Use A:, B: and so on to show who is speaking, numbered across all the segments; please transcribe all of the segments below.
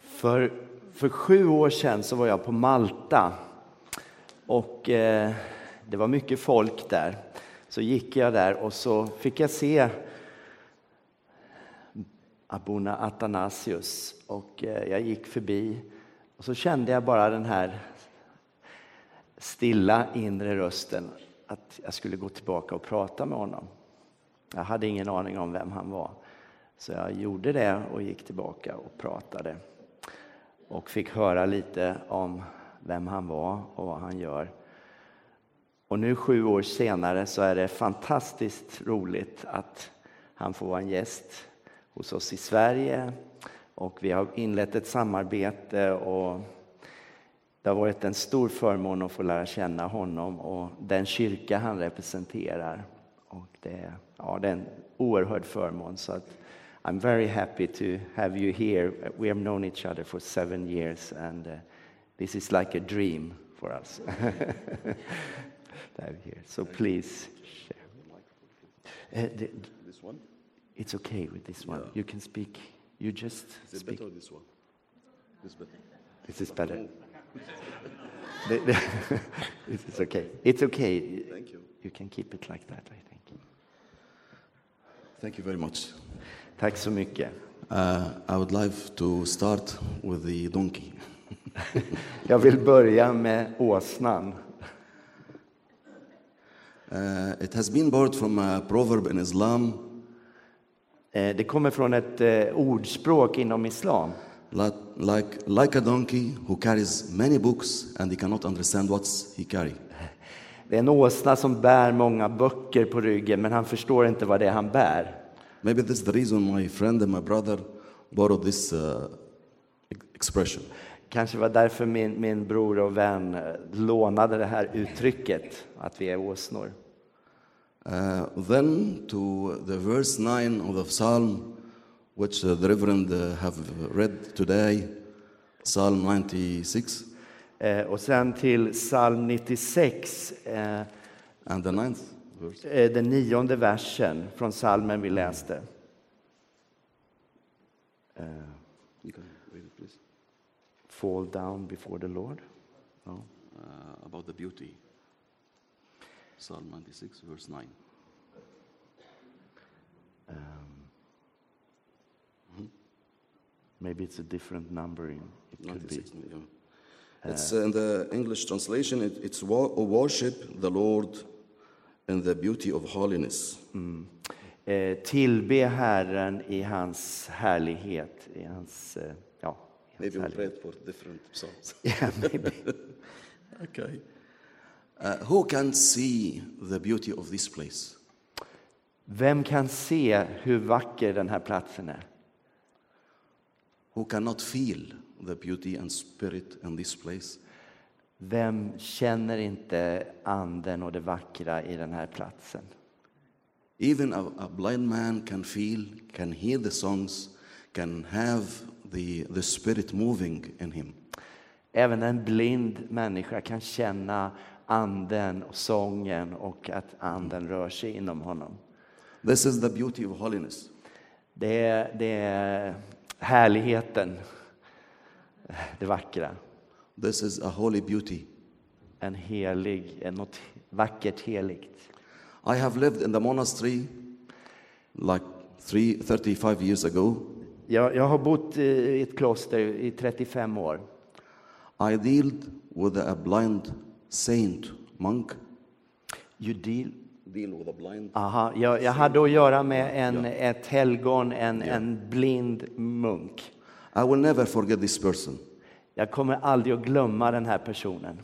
A: För, för sju år sedan så var jag på Malta. Och eh, det var mycket folk där. Så gick jag där och så fick jag se Abuna Athanasius. Och eh, jag gick förbi och så kände jag bara den här stilla inre rösten att jag skulle gå tillbaka och prata med honom. Jag hade ingen aning om vem han var. Så jag gjorde det och gick tillbaka och pratade. Och fick höra lite om vem han var och vad han gör. Och nu sju år senare så är det fantastiskt roligt att han får vara en gäst hos oss i Sverige. Och vi har inlett ett samarbete och det har varit en stor förmån att få lära känna honom och den kyrka han representerar. Och det, ja, det är en oerhörd förmån. Så att I'm very happy to have you here. We have known each other for seven years and uh, this is like a dream for us. to have you here. So please share. Uh, the,
B: This one?
A: it's okay with this one.
B: Yeah.
A: You can speak. You just
B: Is it
A: speak.
B: better or this one? This better.
A: This is better. The- the- this is okay. It's okay.
B: Thank you.
A: You can keep it like that, I think.
B: Thank you very much.
A: Tack så mycket.
B: Uh, I would like to start with the donkey.
A: Jag vill börja med åsnan.
B: Uh, it has been borrowed from a proverb in Islam,
A: Eh, Det kommer från ett eh, ordspråk inom islam.
B: like, like, like a donkey who carries many books and he cannot understand what he carry.
A: Det är en åsna som bär många böcker på ryggen, men han förstår inte vad det är han bär.
B: Maybe this is the reason my friend and my brother borrowed this uh, ex- expression.
A: Kanske var därför min, min bror och vän eh, lånade det här uttrycket, att vi är åsnor.
B: Uh, then to the verse 9 of the psalm, which uh, the Reverend uh, have read today, Psalm 96
A: Eh, och sen till psalm 96, eh, eh,
B: and the ninth verse.
A: den nionde versen från psalmen vi läste.
B: You can read it, please.
A: Fall down before the Lord.
B: No, uh, about the beauty. Psalm 96, verse 9.
A: Maybe it's a different numbering. It could be.
B: 96, yeah. It's uh, in the English translation, it, it's wo- worship the Lord in the beauty of holiness.
A: Eh, tillbe Herren i hans härlighet. I hans, eh, ja, i hans
B: Maybe we
A: härlighet.
B: read for different psalms.
A: Yeah, maybe.
B: Okay. Uh, who can see the beauty of this place?
A: Vem kan se hur vacker den här platsen är?
B: Who cannot feel the beauty and spirit in this place?
A: Vem känner inte anden och det vackra i den här platsen?
B: Even a, a blind man can feel, can hear the songs, can have the, the spirit moving in him.
A: Även en blind människa kan känna anden och sången och att anden rör sig inom honom.
B: This is the beauty of holiness.
A: Det är, det är härligheten, det vackra.
B: This is a holy beauty.
A: en helig, en något vackert heligt.
B: I have lived in the monastery like three, 35 years ago.
A: Jag, jag har bott eh, i ett kloster i 35 år.
B: I dealt with a blind saint monk.
A: You deal.
B: Deal with a blind
A: Aha, jag, jag hade att göra med en, ett helgon, en, en blind munk.
B: I will never forget this person.
A: Jag kommer aldrig att glömma den här personen.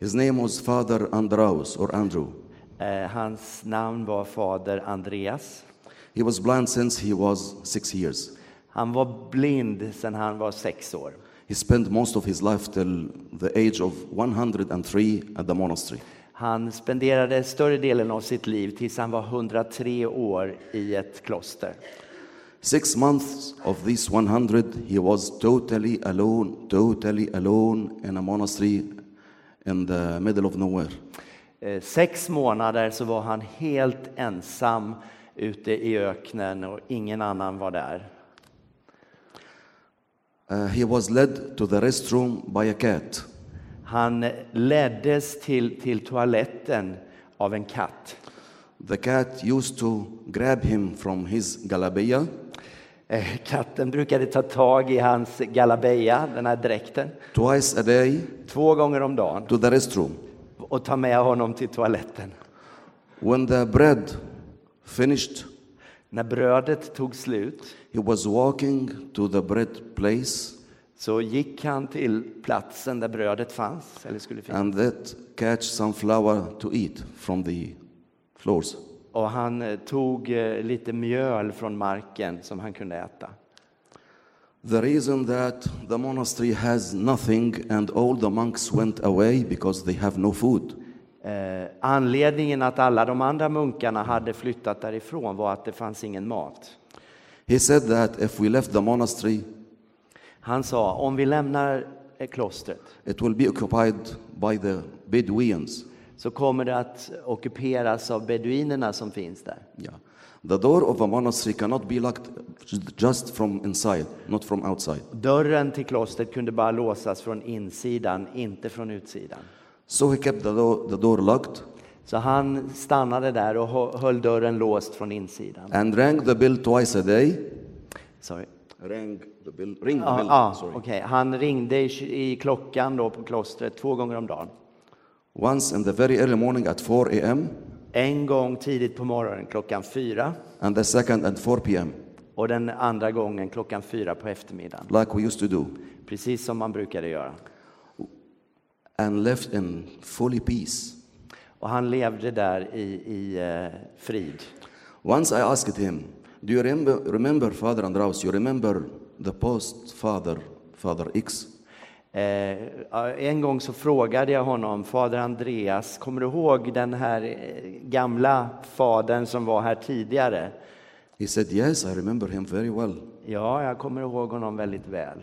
B: His name was Father Andraus or Andrew.
A: Eh, hans namn var fader Andreas.
B: He was blind since he was six years.
A: Han var blind sedan han var sex år.
B: He spent most of his life till the age of 103 at the monastery.
A: Han spenderade större delen av sitt liv tills han var 103 år i ett kloster.
B: Six months of these 100, he was totally alone, totally alone in a monastery in the middle of nowhere.
A: Eh, Sex månader så var han helt ensam ute i öknen och ingen annan var där.
B: Uh, he was led to the restroom by a cat.
A: Han leddes till, till toaletten av en katt.
B: The cat used to grab him from his galabia
A: Eh, Katten brukade ta tag i hans galabeja, den här dräkten,
B: twice a day
A: två gånger om dagen
B: to the restroom.
A: och ta med honom till toaletten.
B: When the bread finished,
A: När brödet tog slut
B: he was walking to the bread place,
A: så gick han till platsen där brödet fanns, eller skulle finnas.
B: and that catch some flour to eat from the floors.
A: Och han eh, tog eh, lite mjöl från marken som han kunde äta.
B: The reason that the monastery has nothing and all the monks went away because they have no food.
A: Eh, anledningen att alla de andra munkarna hade flyttat därifrån var att det fanns ingen mat.
B: He said that if we left the monastery,
A: Han sa, om vi lämnar eh, klostret
B: it will be occupied by the Bedouins.
A: så kommer det att ockuperas av beduinerna som finns där.
B: Yeah. The door of a monastery cannot be locked just from inside, not from outside.
A: Dörren till klostret kunde bara låsas från insidan, inte från utsidan.
B: So he kept the, do- the door locked
A: Så han stannade där och hö- höll dörren låst från insidan.
B: and rang the bell twice a day.
A: Sorry.
B: Rang the bell, ring the
A: Ja,
B: bell,
A: ja,
B: sorry.
A: okej. Han ringde i, i klockan då på klostret två gånger om dagen.
B: Once in the very early morning at 4 a.m.
A: En gång tidigt på morgonen klockan fyra
B: and the second at 4 p.m.,
A: och den andra gången klockan fyra på eftermiddagen.
B: like we used to do,
A: Precis som man brukade göra.
B: and left in fully peace.
A: Och han levde där i, i eh, frid.
B: Once I asked him, Do you remember, remember Father Andraus? You remember the post father, Father X?
A: Eh, ja, en gång så frågade jag honom, fader Andreas, kommer du ihåg den här eh, gamla fadern som var här tidigare?
B: He said, Yes, I remember him very well.
A: Ja, jag kommer ihåg honom väldigt väl.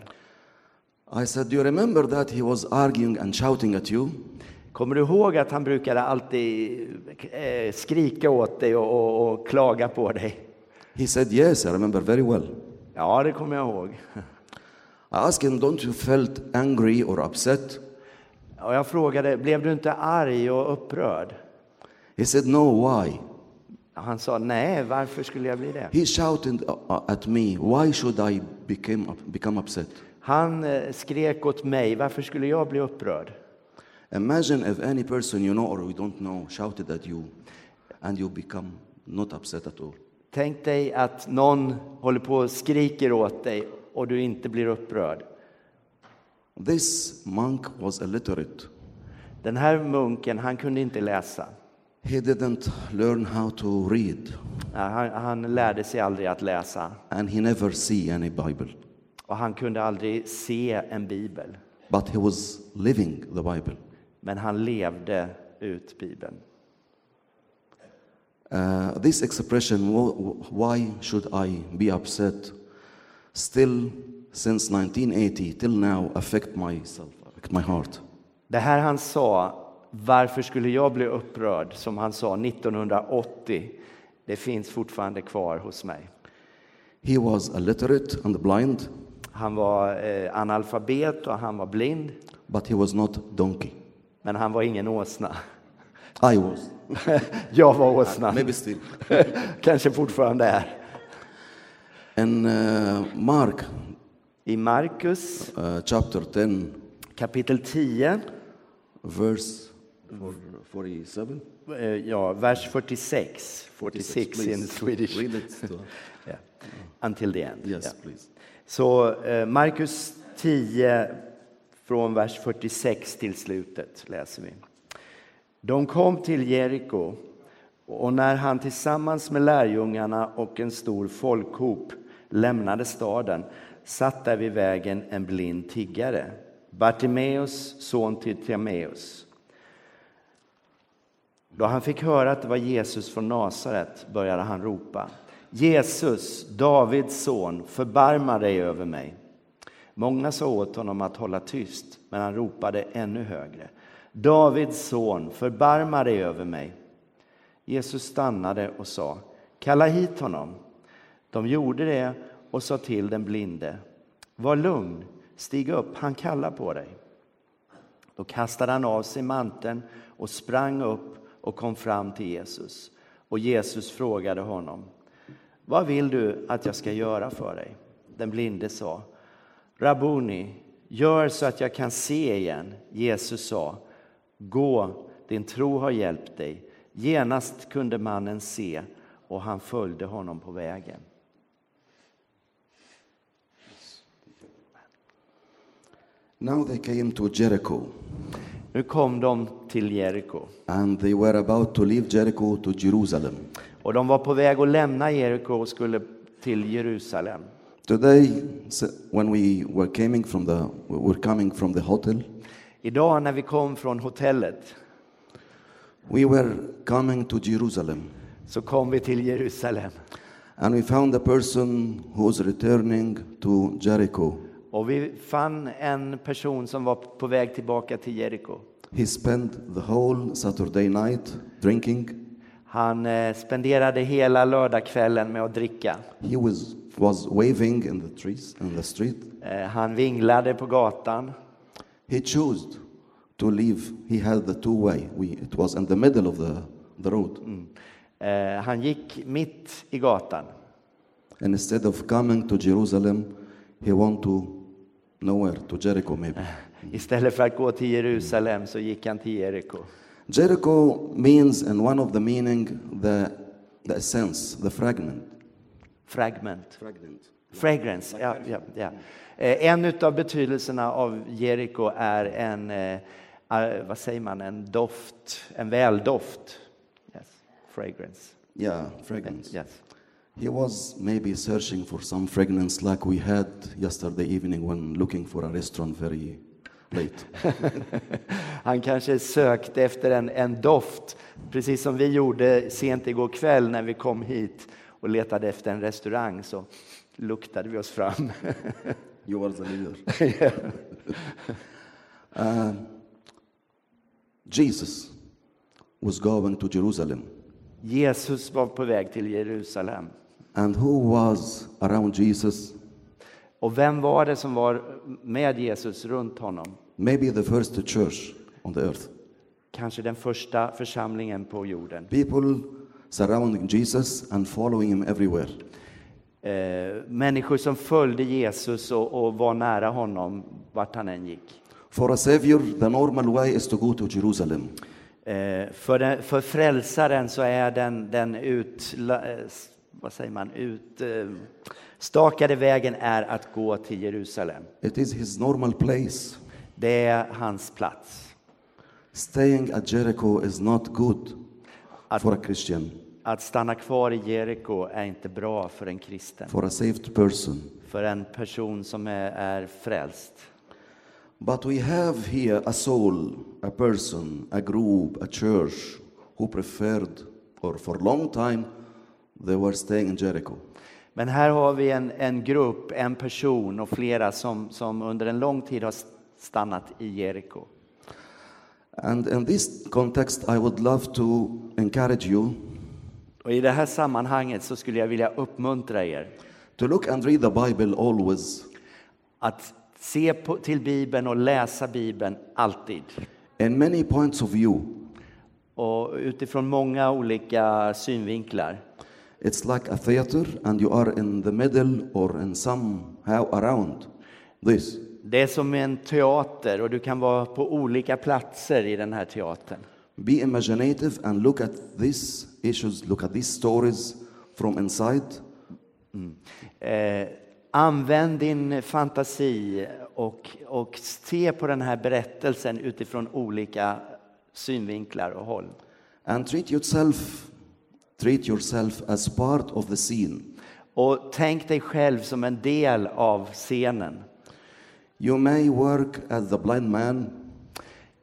B: I said, Do you remember that he was arguing and shouting at you?
A: Kommer du ihåg att han brukade alltid eh, skrika åt dig och, och, och klaga på dig?
B: He said, Yes, I remember very well.
A: Ja, det kommer jag ihåg.
B: I asked him, Don't you felt angry or upset?
A: Och jag frågade, blev du inte arg och upprörd?
B: He said, No, why?
A: Han sa, nej, varför skulle jag bli det?
B: He shouted uh, uh, at me, Why should I became, up- become upset?
A: Han eh, skrek åt mig, varför skulle jag bli upprörd?
B: Imagine if any person you know or you don't know shouted at you and you become not upset at all.
A: Tänk dig att någon håller på och skriker åt dig och du inte blir upprörd.
B: This monk was illiterate.
A: Den här munken, han kunde inte läsa.
B: He didn't learn how to read
A: Ja, Han, han lärde sig aldrig att läsa
B: and he never see any Bible.
A: och han kunde aldrig se en bibel.
B: But he was living the Bible.
A: Men han levde ut bibeln.
B: Uh, this expression, "Wh- why should I be upset, still since 1980 till now affect myself, affect my heart.
A: Det här han sa, varför skulle jag bli upprörd, som han sa 1980, det finns fortfarande kvar hos mig.
B: He was illiterate and blind,
A: Han var eh, analfabet och han var blind,
B: but he was not donkey.
A: men han var ingen åsna.
B: I was,
A: Jag var åsnan.
B: maybe still.
A: Kanske fortfarande är.
B: In uh, Mark
A: I Markus
B: uh, chapter 10,
A: kapitel 10,
B: verse 47,
A: eh, ja, vers 46. 46 in Swedish.
B: Read it to
A: Yeah. Until the end.
B: Yes,
A: Yeah.
B: please.
A: Så eh, Markus 10, från vers 46 till slutet läser vi. De kom till Jeriko och när han tillsammans med lärjungarna och en stor folkhop lämnade staden satt där vid vägen en blind tiggare, Bartimeus, son till Timaeus. Då han fick höra att det var Jesus från Nasaret började han ropa. Jesus, Davids son, förbarma dig över mig. Många sa åt honom att hålla tyst, men han ropade ännu högre. Davids son, förbarma dig över mig. Jesus stannade och sa, kalla hit honom. De gjorde det och sa till den blinde, var lugn, Stig upp, han kallar på dig. Då kastade han av sig manteln och sprang upp och kom fram till Jesus. Och Jesus frågade honom, vad vill du att jag ska göra för dig? Den blinde sa, Rabuni, gör så att jag kan se igen. Jesus sa, gå, din tro har hjälpt dig. Genast kunde mannen se och han följde honom på vägen.
B: Now they came to Jericho,
A: Nu kom de till Jeriko
B: and they were about to leave Jericho to Jerusalem.
A: och de var på väg att lämna Jeriko och skulle till Jerusalem.
B: Today, s- when we were coming from the, we were coming from the hotel,
A: Idag när vi kom från hotellet
B: we were coming to Jerusalem,
A: så kom vi till Jerusalem
B: and we found a person who was returning to Jericho.
A: och vi fann en person som var på väg tillbaka till Jeriko.
B: He spent the whole Saturday night drinking.
A: Han eh, spenderade hela lördagskvällen med att dricka.
B: He was was waving in the trees in the street.
A: Eh, han vinglade på gatan.
B: He chose to leave. He had the two way. We, it was in the middle of the, the road.
A: Eh, han gick mitt i gatan.
B: And instead of coming to Jerusalem, he went to nowhere, to Jericho maybe.
A: Istället för att gå till Jerusalem så gick han till Jeriko.
B: Jericho means, and one of the meaning, the, the essence, the fragment.
A: Fragment.
B: Fragment.
A: Fragrance. Ja, ja, ja. Eh, En av betydelserna av Jeriko är en, eh, eh, vad säger man, en doft, en väldoft. Yes. Fragrance.
B: Yeah, fragrance.
A: Yes.
B: He was maybe searching for some fragrance like we had yesterday evening when looking for a restaurant very late.
A: Han kanske sökte efter en, en doft, precis som vi gjorde sent igår kväll när vi kom hit och letade efter en restaurang så luktade vi oss fram.
B: you were the leader. Uh, Jesus was going to Jerusalem.
A: Jesus var på väg till Jerusalem.
B: And who was around Jesus?
A: Och vem var det som var med Jesus runt honom?
B: Maybe the first church on the earth.
A: Kanske den första församlingen på jorden.
B: People surrounding Jesus and following him everywhere.
A: Eh, människor som följde Jesus och, och var nära honom vart han än gick.
B: For a savior, the normal way is to go to Jerusalem.
A: Eh, för, den, för frälsaren så är den, den ut, la- eh, s- vad säger man, ut, eh, stakade vägen är att gå till Jerusalem.
B: It is his normal place.
A: Det är hans plats.
B: Staying at Jericho is not good for a Christian,
A: Att stanna kvar i Jeriko är inte bra för en kristen,
B: for a saved person.
A: för en person som är, är frälst.
B: But we have here a soul, a person, a group, a church who preferred, or for a long time, they were staying in Jericho.
A: Men här har vi en, en grupp, en person och flera som, som under en lång tid har stannat i Jeriko.
B: And in this context, I would love to encourage you
A: Och I det här sammanhanget så skulle jag vilja uppmuntra er
B: to look and read the Bible always
A: att se på, till Bibeln och läsa Bibeln alltid.
B: in many points of view.
A: Och utifrån många olika synvinklar.
B: It's like a theater, and you are in the middle or in somehow around this.
A: Det är som en teater och du kan vara på olika platser i den här teatern.
B: Be imaginative and look at these issues, look at these stories from inside.
A: Eh, använd din fantasi och, och se på den här berättelsen utifrån olika synvinklar och håll.
B: and treat yourself treat yourself as part of the scene
A: Och tänk dig själv som en del av scenen.
B: you may work as the blind man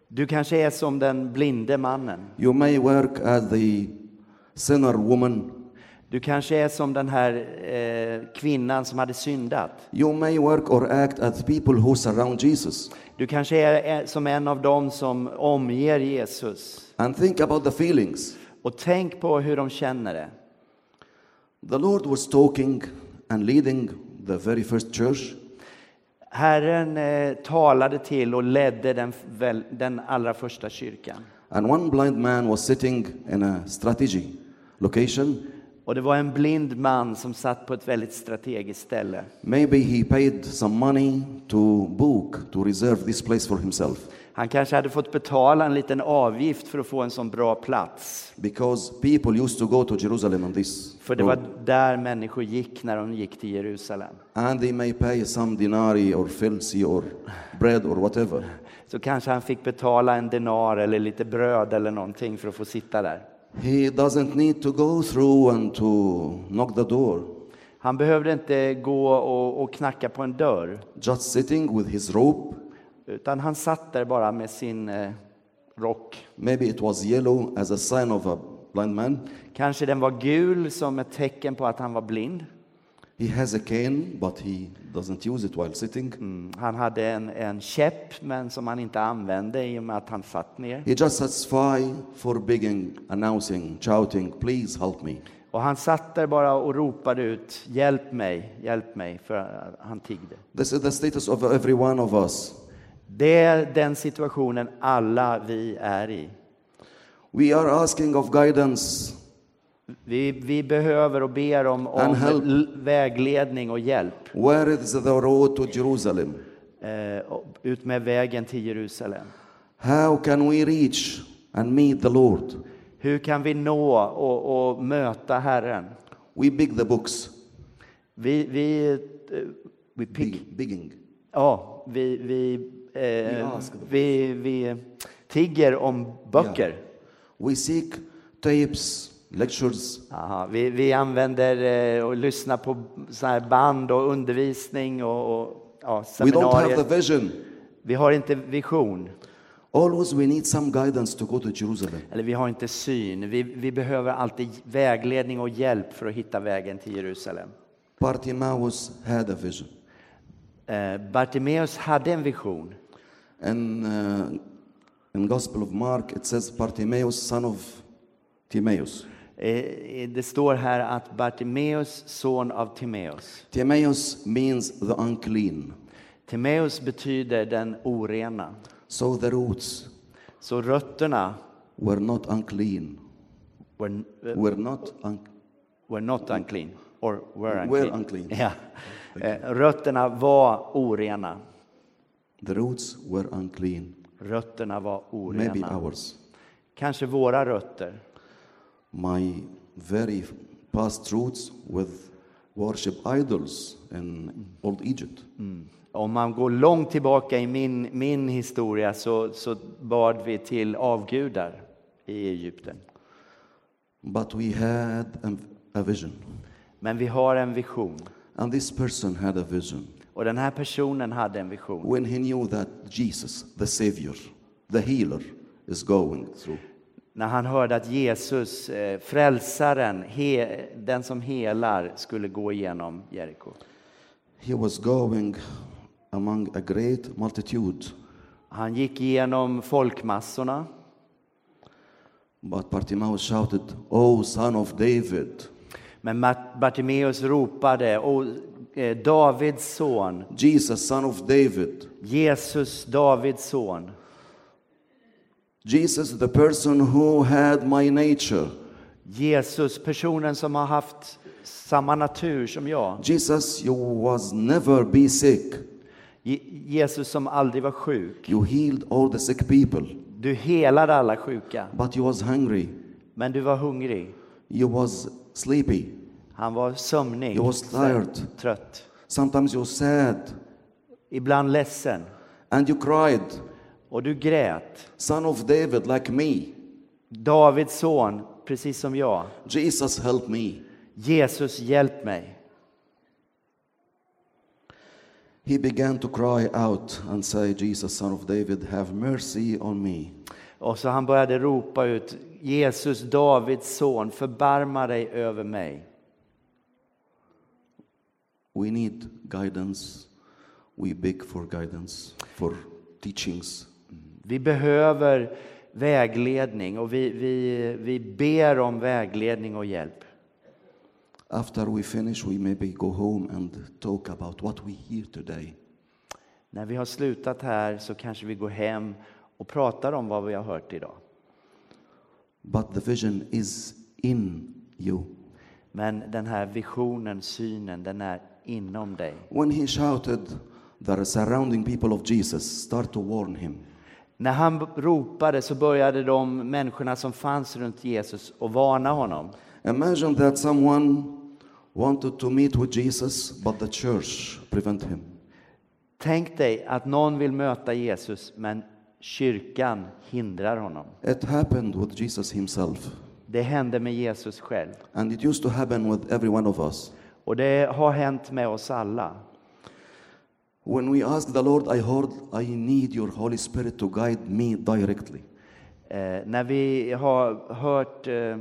A: Du kanske är som den blinde mannen.
B: you may work as the sinner woman
A: Du kanske är som den här eh, kvinnan som hade syndat.
B: you may work or act as people who surround jesus
A: Du kanske är eh, som en av dem som omger Jesus.
B: and think about the feelings
A: Och tänk på hur de känner det.
B: the lord was talking and leading the very first church
A: Herren eh, talade till och ledde den, väl- den allra första kyrkan.
B: And one blind man was sitting in a strategy location.
A: Och det var en blind man som satt på ett väldigt strategiskt ställe.
B: Maybe he paid some money to book, to reserve this place for himself.
A: Han kanske hade fått betala en liten avgift för att få en sån bra plats.
B: Because people used to go to Jerusalem on this.
A: För det
B: road.
A: var där människor gick när de gick till Jerusalem.
B: And they may pay some denarii or filthy or bread or whatever.
A: Så kanske han fick betala en denar eller lite bröd eller någonting för att få sitta där.
B: He doesn't need to go through and to knock the door.
A: Han behövde inte gå och, och knacka på en dörr,
B: Just sitting with his robe,
A: utan han satt där bara med sin eh, rock.
B: maybe it was yellow as a sign of a blind man.
A: Kanske den var gul som ett tecken på att han var blind.
B: He has a cane, but he doesn't use it while sitting.
A: Mm, Han hade en, en käpp, men som han inte använde i och med att han satt ner.
B: He just satisfy for begging, announcing, shouting, please help me.
A: Och han satt där bara och ropade ut ”Hjälp mig, hjälp mig”, för eh, han tiggde.
B: This is the status of every one of us.
A: Det är den situationen alla vi är i.
B: We are asking of guidance
A: Vi, vi behöver och ber om, om
B: And help.
A: l- vägledning och hjälp
B: Where is the road to Jerusalem?
A: eh, och- ut med vägen till Jerusalem.
B: How can we reach and meet the Lord?
A: Hur kan vi nå och, och möta Herren?
B: We beg the books.
A: Vi, vi, eh, we pick,
B: Beg- Begging.
A: ja, vi, vi,
B: We
A: eh,
B: ask the
A: vi, vi tigger om böcker.
B: We seek tapes, lectures.
A: Aha, vi, vi använder eh, och lyssnar på så här band och undervisning och, och ja,
B: We don't have the
A: seminarier.
B: vision.
A: Vi har inte vision,
B: Always we need some guidance to go to Jerusalem.
A: eller vi har inte syn. Vi, vi behöver alltid vägledning och hjälp för att hitta vägen till Jerusalem.
B: Bartimaeus had a vision.
A: Eh, Bartimeus hade en vision.
B: And uh, in Gospel of Mark it says Bartimaeus, son of Timaeus.
A: Eh, Det står här att Bartimeus, son av Timeus.
B: Timaeus means the unclean.
A: Timeus betyder den orena.
B: So the roots
A: Så rötterna
B: were not unclean.
A: were,
B: Were not unclean.
A: were not unclean, or were unclean.
B: Were unclean.
A: Ja. Eh, Rötterna var orena.
B: The roots were unclean,
A: Rötterna var
B: maybe
A: orena.
B: ours.
A: Kanske våra rötter.
B: My very past roots with worship idols in old Egypt.
A: Om man går långt tillbaka i min, min historia så, så bad vi till avgudar i Egypten.
B: But we had a, a vision,
A: Men vi har en vision.
B: and this person had a vision
A: Och den här personen hade en vision.
B: when he knew that Jesus, the Savior, the healer, is going through.
A: När han hörde att Jesus, eh, frälsaren, he, den som helar, skulle gå igenom Jeriko.
B: He was going among a great multitude,
A: Han gick igenom folkmassorna,
B: but Bartimaeus shouted, "O son of David,
A: men Mart- Bartimeus ropade, "O, eh, Davids son,
B: Jesus, son of David."
A: Jesus, Davids son.
B: Jesus, the person who had my nature.
A: Jesus, personen som har haft samma natur som jag.
B: Jesus, you was never be sick.
A: Je- Jesus som aldrig var sjuk.
B: You healed all the sick people,
A: Du helade alla sjuka,
B: but you was hungry.
A: men du var hungrig.
B: You was sleepy.
A: Han var sömnig,
B: You was tired.
A: trött,
B: Sometimes you was sad
A: ibland ledsen.
B: and you cried,
A: Och du grät.
B: Son of David, like me.
A: Davids son, precis som jag.
B: Jesus, help me.
A: Jesus, hjälp mig.
B: He began to cry out and say, Jesus, son of David, have mercy on me.
A: Och så han började ropa ut, Jesus, Davids son, förbarma dig över mig.
B: We need guidance. We beg for guidance, for teachings,
A: Vi behöver vägledning och vi, vi, vi ber om vägledning och hjälp.
B: After we finish, we maybe go home and talk about what we hear today.
A: När vi har slutat här så kanske vi går hem och pratar om vad vi har hört idag.
B: But the vision is in you.
A: Men den här visionen, synen, den är inom dig.
B: When he shouted, the surrounding people of Jesus start to warn him.
A: När han ropade så började de människorna som fanns runt Jesus att varna honom.
B: Imagine that someone wanted to meet with Jesus, but the church prevent him.
A: Tänk dig att någon vill möta Jesus men kyrkan hindrar honom.
B: It happened with Jesus himself,
A: Det hände med Jesus själv
B: and it used to happen with every one of us.
A: och det har hänt med oss alla.
B: When we asked the Lord, I heard, I need your Holy Spirit to guide me directly.
A: Eh, när vi har hört eh,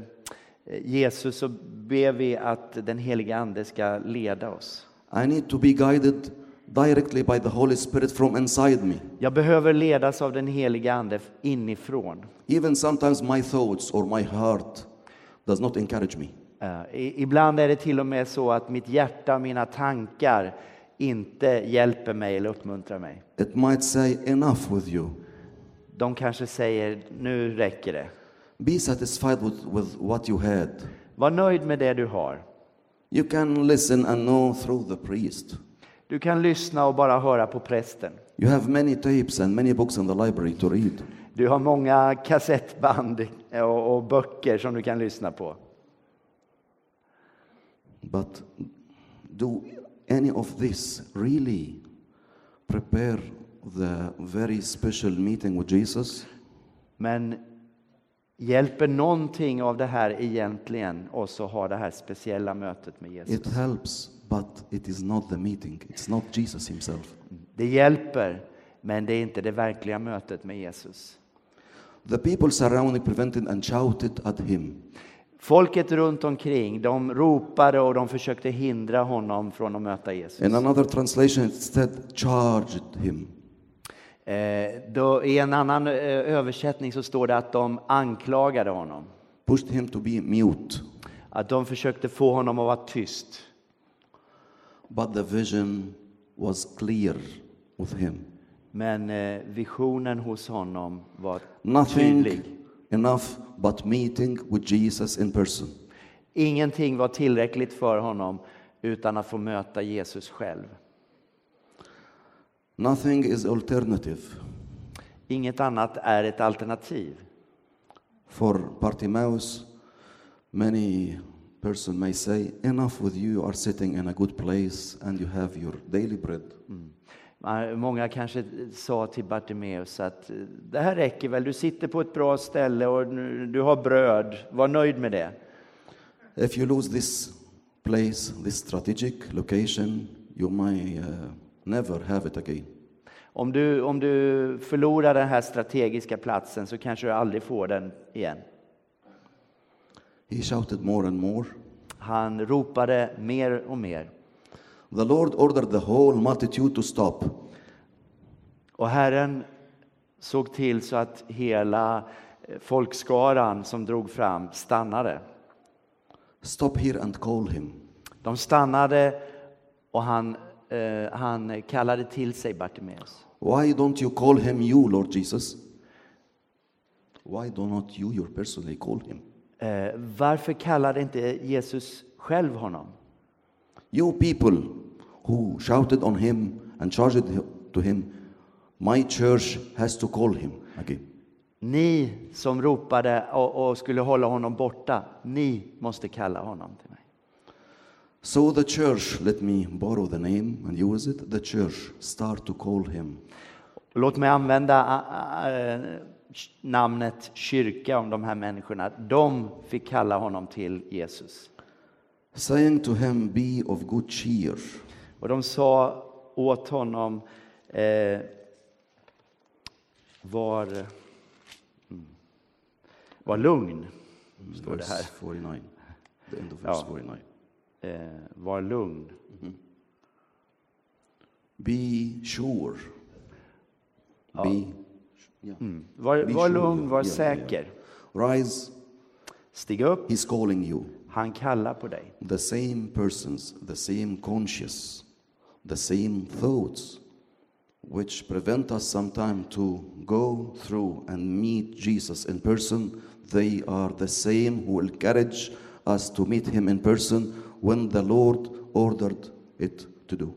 A: Jesus så ber vi att den heliga Ande ska leda oss.
B: I need to be guided directly by the Holy Spirit from inside me.
A: Jag behöver ledas av den heliga Ande inifrån.
B: Even sometimes my thoughts or my heart does not encourage me.
A: Eh, i- ibland är det till och med så att mitt hjärta, mina tankar inte hjälper mig eller uppmuntrar mig.
B: It might say, Enough with you.
A: De kanske säger nu räcker det.
B: Be satisfied with, with what you had.
A: Var nöjd med det du har.
B: You can listen and know through the priest.
A: Du kan lyssna och bara höra på prästen.
B: You have many tapes and many books in the library to read.
A: Du har många kassettband och, och böcker som du kan lyssna på.
B: But do any of this really prepare the very special meeting with Jesus?
A: Men hjälper någonting av det här egentligen oss att ha det här speciella mötet med Jesus?
B: It helps, but it is not the meeting. It's not Jesus himself.
A: Det hjälper, men det är inte det verkliga mötet med Jesus.
B: The people surrounding prevented and shouted at him.
A: Folket runt omkring, de ropade och de försökte hindra honom från att möta Jesus.
B: In another translation, it said, charged him.
A: Eh, då, I en annan eh, översättning så står det att de anklagade honom.
B: pushed him to be mute.
A: Att de försökte få honom att vara tyst.
B: But the vision was clear with him.
A: Men eh, visionen hos honom var
B: Nothing
A: tydlig.
B: enough but meeting with Jesus in person.
A: Ingenting var tillräckligt för honom utan att få möta Jesus själv.
B: Nothing is alternative.
A: Inget annat är ett alternativ.
B: For Bartimaeus, many person may say, enough with you, you are sitting in a good place and you have your daily bread.
A: Man- Mm. Många kanske sa till Bartimeus att eh, det här räcker väl, du sitter på ett bra ställe och nu- du har bröd, var nöjd med det.
B: If you lose this place, this strategic location, you may uh, never have it again.
A: Om du, om du förlorar den här strategiska platsen så kanske du aldrig får den igen.
B: He shouted more and more.
A: Han ropade mer och mer.
B: The Lord ordered the whole multitude to stop.
A: Och Herren såg till så att hela eh, folkskaran som drog fram stannade.
B: Stop here and call him.
A: De stannade och han, eh, han kallade till sig Bartimeus.
B: Why don't you call him you, Lord Jesus? Why do not you, your personally, call him?
A: Eh, varför kallade inte Jesus själv honom?
B: You people who shouted on him and charged hi- to him, my church has to call him again.
A: Ni som ropade och, och skulle hålla honom borta, ni måste kalla honom till mig.
B: So the church, let me borrow the name and use it, the church start to call him.
A: Och Låt mig använda ä, ä, eh, namnet kyrka om de här människorna. De fick kalla honom till Jesus.
B: Saying to him, Be of good cheer.
A: Och de sa åt honom eh, var, mm, var lugn. Står det här.
B: Verse 49. The end of verse
A: Ja.
B: 49.
A: Eh, var lugn.
B: Be sure. Be, yeah.
A: Var,
B: Be
A: var
B: sure,
A: lugn,
B: ja.
A: var
B: Ja, ja, ja.
A: säker.
B: Rise.
A: Stig upp,
B: He's calling you.
A: han kallar på dig.
B: The same persons, the same conscience, the same thoughts, which prevent us sometime to go through and meet Jesus in person, they are the same who encourage us to meet him in person when the Lord ordered it to do.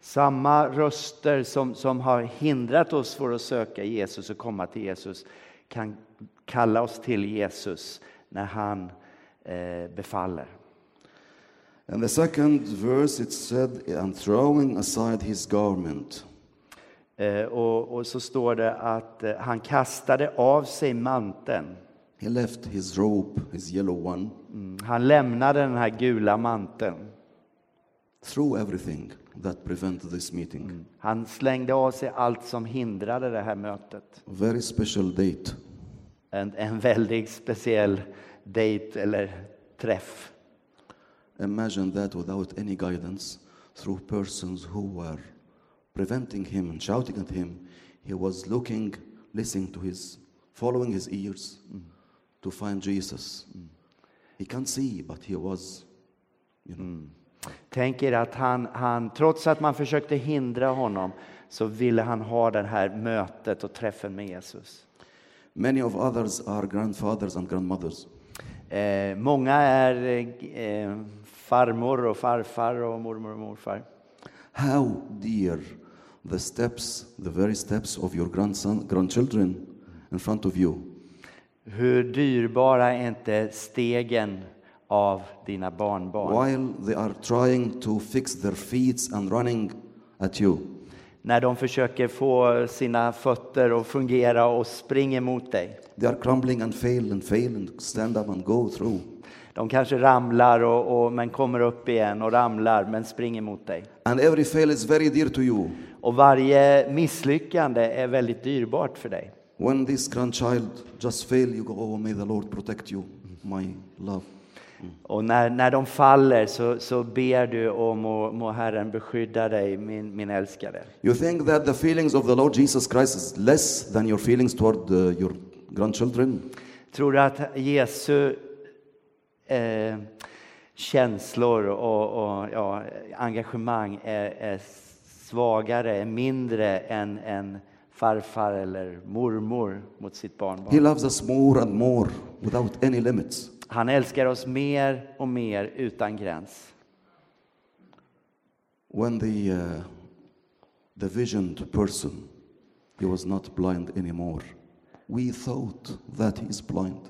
A: Samma röster som, som har hindrat oss från att söka Jesus och komma till Jesus kan kalla oss till Jesus när han eh, befaller.
B: And the second verse it said, and throwing aside his garment.
A: Eh, och, och så står det att eh, han kastade av sig manteln.
B: He left his robe, his yellow one,
A: Mm, Han lämnade den här gula manteln.
B: threw everything that prevented this meeting.
A: Han slängde av sig allt som hindrade det här mötet.
B: Very special date.
A: En, en väldigt speciell dejt eller träff.
B: Imagine that without any guidance, through persons who were preventing him and shouting at him, he was looking, listening to his, following his ears to find Jesus. He can't see, but he was, you know.
A: Tänk er att han, han, trots att man försökte hindra honom, så ville han ha det här mötet och träffen med Jesus.
B: Many of others are grandfathers and grandmothers.
A: Eh, många är eh, eh, farmor och farfar och mormor och morfar.
B: How dear the steps, the very steps of your grandson, grandchildren in front of you.
A: Hur dyrbara är inte stegen av dina barnbarn?
B: While they are trying to fix their feet and running at you,
A: När de försöker få sina fötter att fungera och springer mot dig.
B: they are crumbling and fail and fail and stand up and go through.
A: De kanske ramlar och, och, men kommer upp igen och ramlar men springer mot dig.
B: And every fail is very dear to you.
A: Och varje misslyckande är väldigt dyrbart för dig.
B: When this grandchild just fail, you go, oh, may the Lord protect you, my love.
A: Och när, när de faller så, så ber du om må, må Herren beskydda dig, min, min älskade.
B: You think that the feelings of the Lord Jesus Christ is less than your feelings toward uh, your grandchildren?
A: Tror du att Jesu eh, känslor och, och ja, engagemang är, är svagare, är mindre än, än farfar eller mormor mot sitt barnbarn?
B: He loves us more and more without any limits.
A: Han älskar oss mer och mer utan gräns.
B: When the, uh, the visioned person, he was not blind anymore. We thought that he is blind.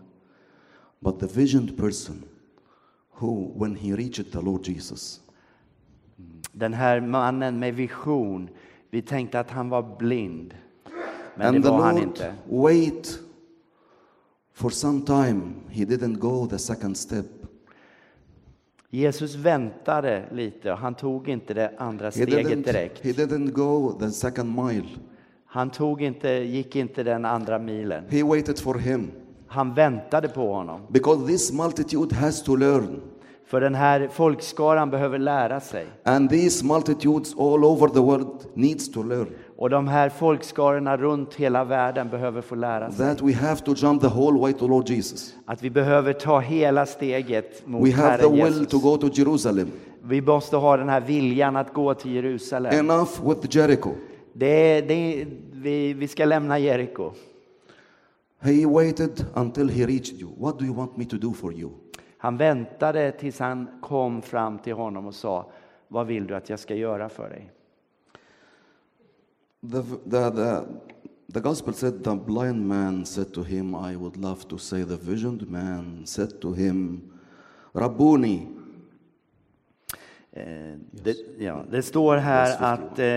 B: But the visioned person, who, when he reached the Lord Jesus,
A: Den här mannen med vision, vi tänkte att han var blind. Men
B: and
A: det
B: the
A: var han
B: Lord
A: inte.
B: wait for some time, he didn't go the second step.
A: Jesus väntade lite och han tog inte det andra
B: He
A: steget
B: didn't,
A: direkt.
B: he didn't go the second mile.
A: Han tog inte, gick inte den andra milen.
B: He waited for him.
A: Han väntade på honom.
B: Because this multitude has to learn.
A: För den här folkskaran behöver lära sig.
B: And these multitudes all over the world needs to learn.
A: Och de här folkskarorna runt hela världen behöver få lära sig.
B: That we have to jump the whole way to Lord Jesus.
A: Att vi behöver ta hela steget mot
B: We have the
A: Herren
B: will to
A: Jesus.
B: go to Jerusalem.
A: Vi måste ha den här viljan att gå till Jerusalem.
B: Enough with Jericho.
A: Det är, det är, vi, vi ska lämna Jeriko.
B: He waited until he reached you. What do you want me to do for you?
A: Han väntade tills han kom fram till honom och sa Vad vill du att jag ska göra för dig?
B: The, the, the, the gospel said the blind man said to him, I would love to say the visioned man said to him, Rabboni,
A: Eh, det, ja, det står här att eh,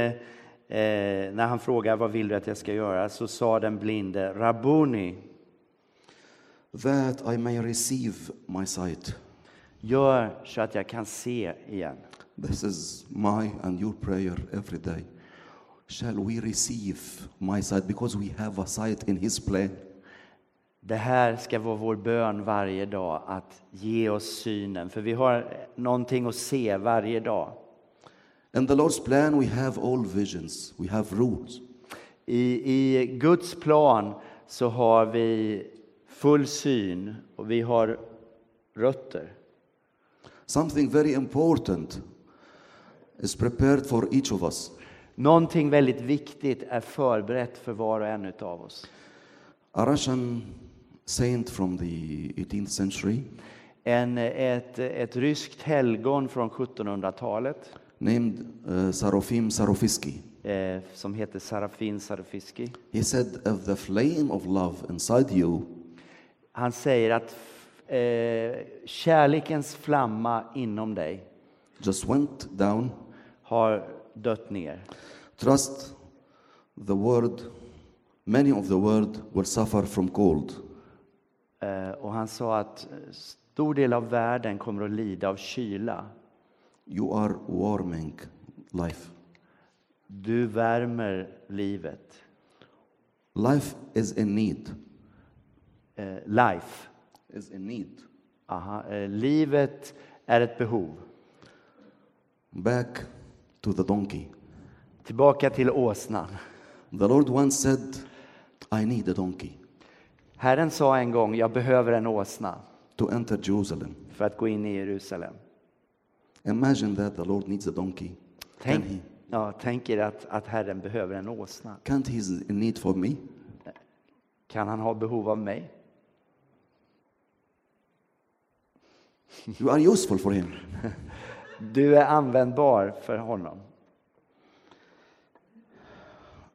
A: eh, när han frågar vad vill du att jag ska göra så sa den blinde Rabuni,
B: that I may receive my sight.
A: gör så att jag kan se igen.
B: This is my and your prayer every day. Shall we receive my sight? Because we have a sight in His plan.
A: Det här ska vara vår bön varje dag, att ge oss synen. För vi har någonting att se varje dag.
B: In the Lord's plan, we have all visions, we have rules.
A: I, I Guds plan så har vi full syn och vi har rötter.
B: Something very important is prepared for each of us.
A: Någonting väldigt viktigt är förberett för var och en av oss.
B: A Russian saint from the 18th century
A: En, ett, ett ryskt helgon från 1700-talet
B: named uh, Sarofim Sarofisky.
A: eh, som heter Sarafin Sarfiski.
B: He said, If the flame of love inside you
A: Han säger att f- eh, kärlekens flamma inom dig
B: just went down,
A: har dött ner.
B: trust the word, many of the world will suffer from cold.
A: Eh, och han sa att eh, stor del av världen kommer att lida av kyla.
B: You are warming life.
A: Du värmer livet.
B: Life is in need.
A: Eh, life.
B: Is in need.
A: Aha. Eh, livet är ett behov.
B: Back to the donkey.
A: Tillbaka till åsnan.
B: The Lord once said, I need a donkey
A: Herren sa en gång, jag behöver en åsna
B: to enter Jerusalem.
A: för att gå in i Jerusalem.
B: Imagine that the Lord needs a donkey.
A: Tänk,
B: Can he?
A: ja, tänk er att, att Herren behöver en åsna.
B: Can't he is in need for me?
A: Kan han ha behov av mig?
B: You are useful for him.
A: Du är användbar för honom.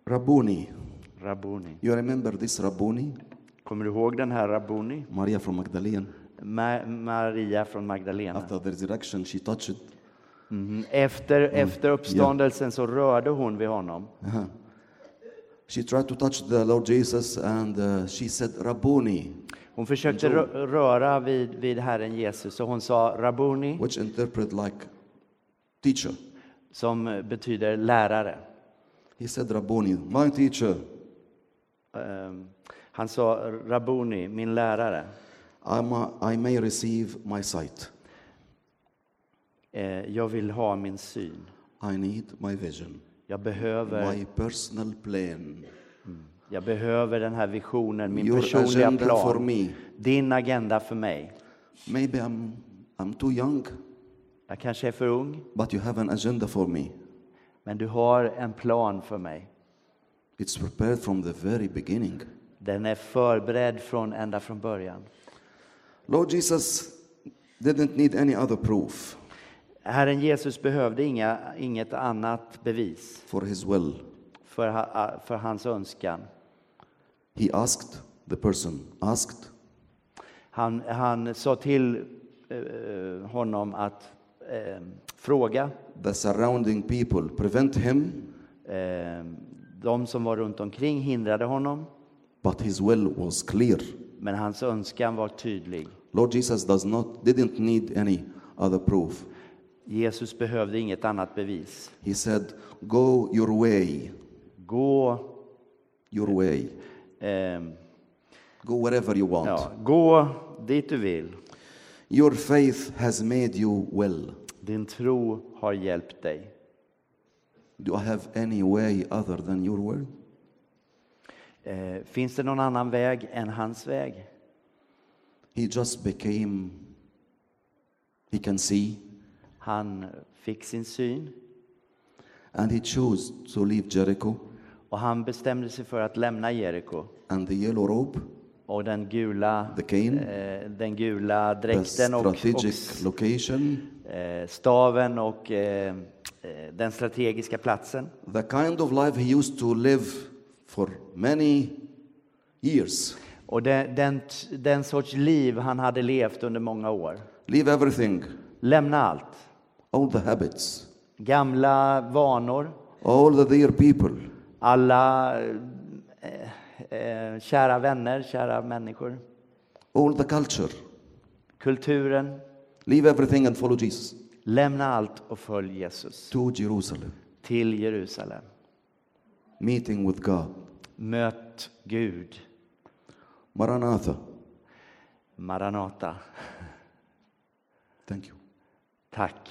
B: Rabboni.
A: Rabuni.
B: You remember this Rabboni?
A: Kommer du ihåg den här Rabuni?
B: Maria from Magdalene.
A: Ma- Maria från Magdalena.
B: After the resurrection, she touched.
A: Mhm. Efter, efter uppståndelsen så rörde hon vid honom.
B: She tried to touch the Lord Jesus and uh, she said, Rabboni,
A: Hon försökte rö- röra vid, vid Herren Jesus och hon sa Rabuni,
B: which interpret like teacher.
A: som betyder lärare.
B: He said, Rabboni, my teacher,
A: Ehm, Han sa Rabuni, min lärare.
B: I ma- I may receive my sight.
A: Eh, Jag vill ha min syn.
B: I need my vision,
A: Jag behöver,
B: my personal plan,
A: jag behöver den här visionen, min
B: your
A: personliga
B: agenda for
A: plan.
B: me.
A: Din agenda för mig.
B: Maybe I'm, I'm too young,
A: Jag kanske är för ung,
B: but you have an agenda for me.
A: men du har en plan för mig.
B: It's prepared from the very beginning.
A: Den är förberedd från ända från början.
B: Lord Jesus didn't need any other proof
A: Herren Jesus behövde inga, inget annat bevis
B: for his will.
A: för, ha- för hans önskan.
B: He asked, the person asked,
A: Han, han sa till eh, honom att eh, fråga
B: the surrounding people prevent him,
A: Eh, De som var runt omkring hindrade honom,
B: but his will was clear.
A: men hans önskan var tydlig.
B: Lord Jesus does not didn't need any other proof.
A: Jesus behövde inget annat bevis.
B: He said, "Go your way,
A: Gå,
B: your way.
A: ehm,
B: Go wherever you want.
A: ja, gå dit du vill.
B: Your faith has made you well.
A: Din tro har hjälpt dig.
B: Do I have any way other than your word?
A: Eh, Finns det någon annan väg än hans väg?
B: He just became. He can see,
A: Han fick sin syn
B: and he chose to leave Jericho
A: och han bestämde sig för att lämna Jeriko.
B: and the yellow robe,
A: Och den gula,
B: the cane,
A: eh, den gula
B: the
A: dräkten och, och
B: strategic location,
A: eh, staven och eh, eh, den strategiska platsen.
B: the kind of life he used to live for many years.
A: Och den, den, t- den sorts liv han hade levt under många år.
B: Leave everything,
A: Lämna allt.
B: all the habits,
A: Gamla vanor,
B: all the dear people,
A: alla eh, eh, kära vänner, kära människor,
B: all the culture.
A: kulturen.
B: Leave everything and follow Jesus
A: Lämna allt och följ Jesus
B: to Jerusalem,
A: till Jerusalem.
B: meeting with God.
A: Möt Gud,
B: Maranatha.
A: Maranata.
B: Thank you.
A: Tack.